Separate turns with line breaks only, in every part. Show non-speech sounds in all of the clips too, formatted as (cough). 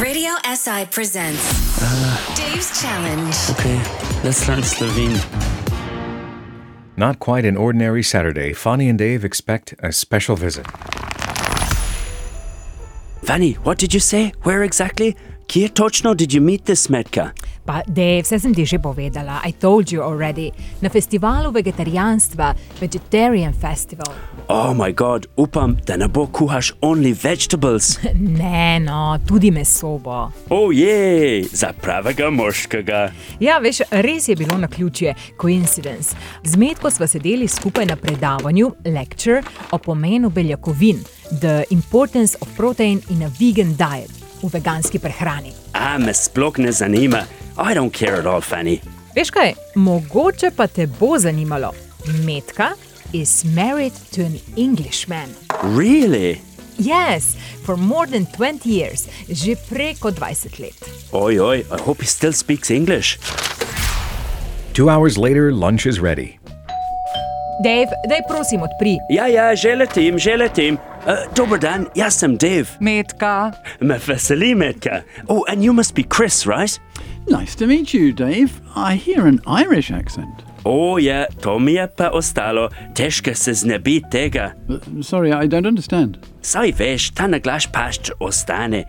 Radio SI presents Dave's Challenge.
Okay, let's learn Slovene.
Not quite an ordinary Saturday, Fonny and Dave expect a special visit.
Fanny, what did you say? Where exactly? Kje točno did you meet this Metka?
Pa, Dave, vse sem ti že povedala, I told you already. Na festivalu vegetarijanstva, Vegetarian Festival. (laughs)
Oh my god, upam, da ne bo kuhaš only vegetables.
Ne, no, tudi meso bo.
Oh jej, za pravega moškega.
Ja, veš, res je bilo na ključje, coincidence. Z Metko sva sedeli skupaj na predavanju, lecture o pomenu beljakovin, the importance of protein in a vegan diet, v veganski prehrani.
A me sploh ne zanima. I don't care at all, Fanny.
Veš kaj, mogoče pa te bo zanimalo. Metka is married to an Englishman.
Really?
Yes, for more than 20 years, že preko 20 let.
Oi, oi, I hope he still speaks English.
Two hours later, lunch is ready.
Dave, daj prosim odpri.
Ja, ja, že letim, že letim. Uh, dober dan, jaz sem Dave.
Metka.
Me veseli, Metka. Oh, and you must be Chris, right?
Nice to meet you, Dave. I hear an Irish accent.
O ja, to mi je pa ostalo, težko se znebi tega.
Uh, sorry, I don't understand.
Saj veš, ta naglaš pač ostane.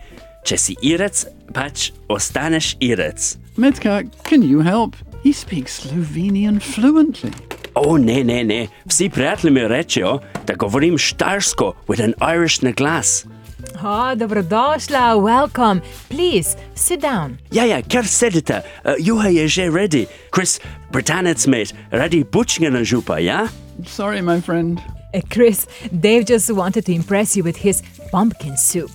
Če si irec, pač ostaneš irec.
Metka, can you help? He speaks Slovenian fluently.
O ne, ne, ne, vsi prijatelji mi rečejo, da govorim štajersko with an Irish naglas.
Ha, dobrodošla, welcome. Please, sit down.
Ja, ja, kar sedite, uh, juha je že ready. Chris, Britanec med, radi bučnjena župa, ja?
Sorry, my friend.
Uh, Chris, Dave just wanted to impress you with his pumpkin soup.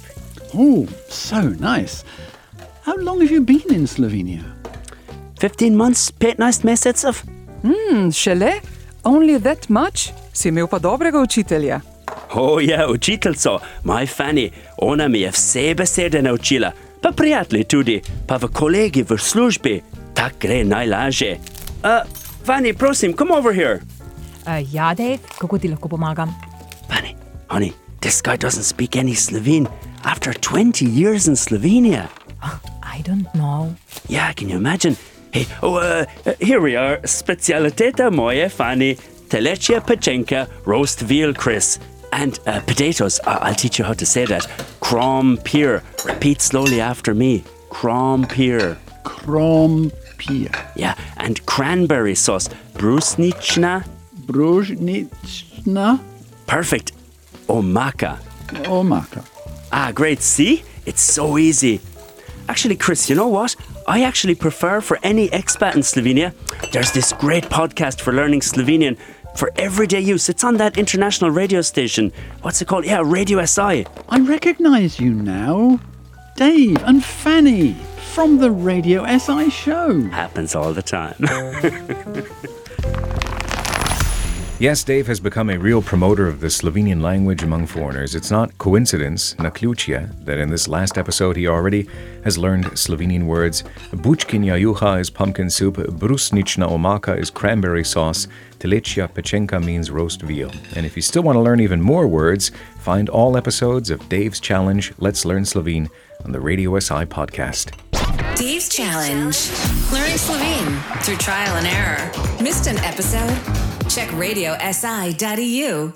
Oh, so nice. How long have you been in Slovenia?
15 months, 15 mesecev?
Šele? Only that much? Si imel pa dobrega učitelja.
O ja, učiteljico, moj fani, ona mi je vse besede naučila, pa prijatelji tudi, pa v kolegi v službi, tako gre najlažje. Uh, fani, prosim, come over here.
Uh, ja, Dave, kako ti lahko pomagam?
Fani, honey, this guy doesn't speak any Slovene after 20 years in Slovenia.
I don't know.
Yeah, can you imagine? Hey, oh, uh, uh, here we are. Specialiteta moje fani, telečja pečenka, roast veal, Chris. And uh, potatoes. I- I'll teach you how to say that. Crompier. Repeat slowly after me. Crompier.
Krompir.
Yeah, and cranberry sauce. Brusnichna.
Brozhnichna
Perfect. Omaka.
omaka.
Ah, great. See? It's so easy. Actually, Chris, you know what? I actually prefer for any expat in Slovenia, there's this great podcast for learning Slovenian for everyday use. It's on that international radio station. What's it called? Yeah, Radio SI.
I recognize you now. Dave and Fanny from the Radio SI show.
Happens all the time.
Yes, Dave has become a real promoter of the Slovenian language among foreigners. It's not coincidence, naključje, that in this last episode he already has learned Slovenian words. Bučkinja juha is pumpkin soup, brusnična omaka is cranberry sauce, telečja pečenka means roast veal. And if you still want to learn even more words, find all episodes of Dave's Challenge Let's Learn Slovene on the Radio SI podcast.
Dave's Challenge. Learning Slovene through trial and error. Missed an episode? Check radiosI.eu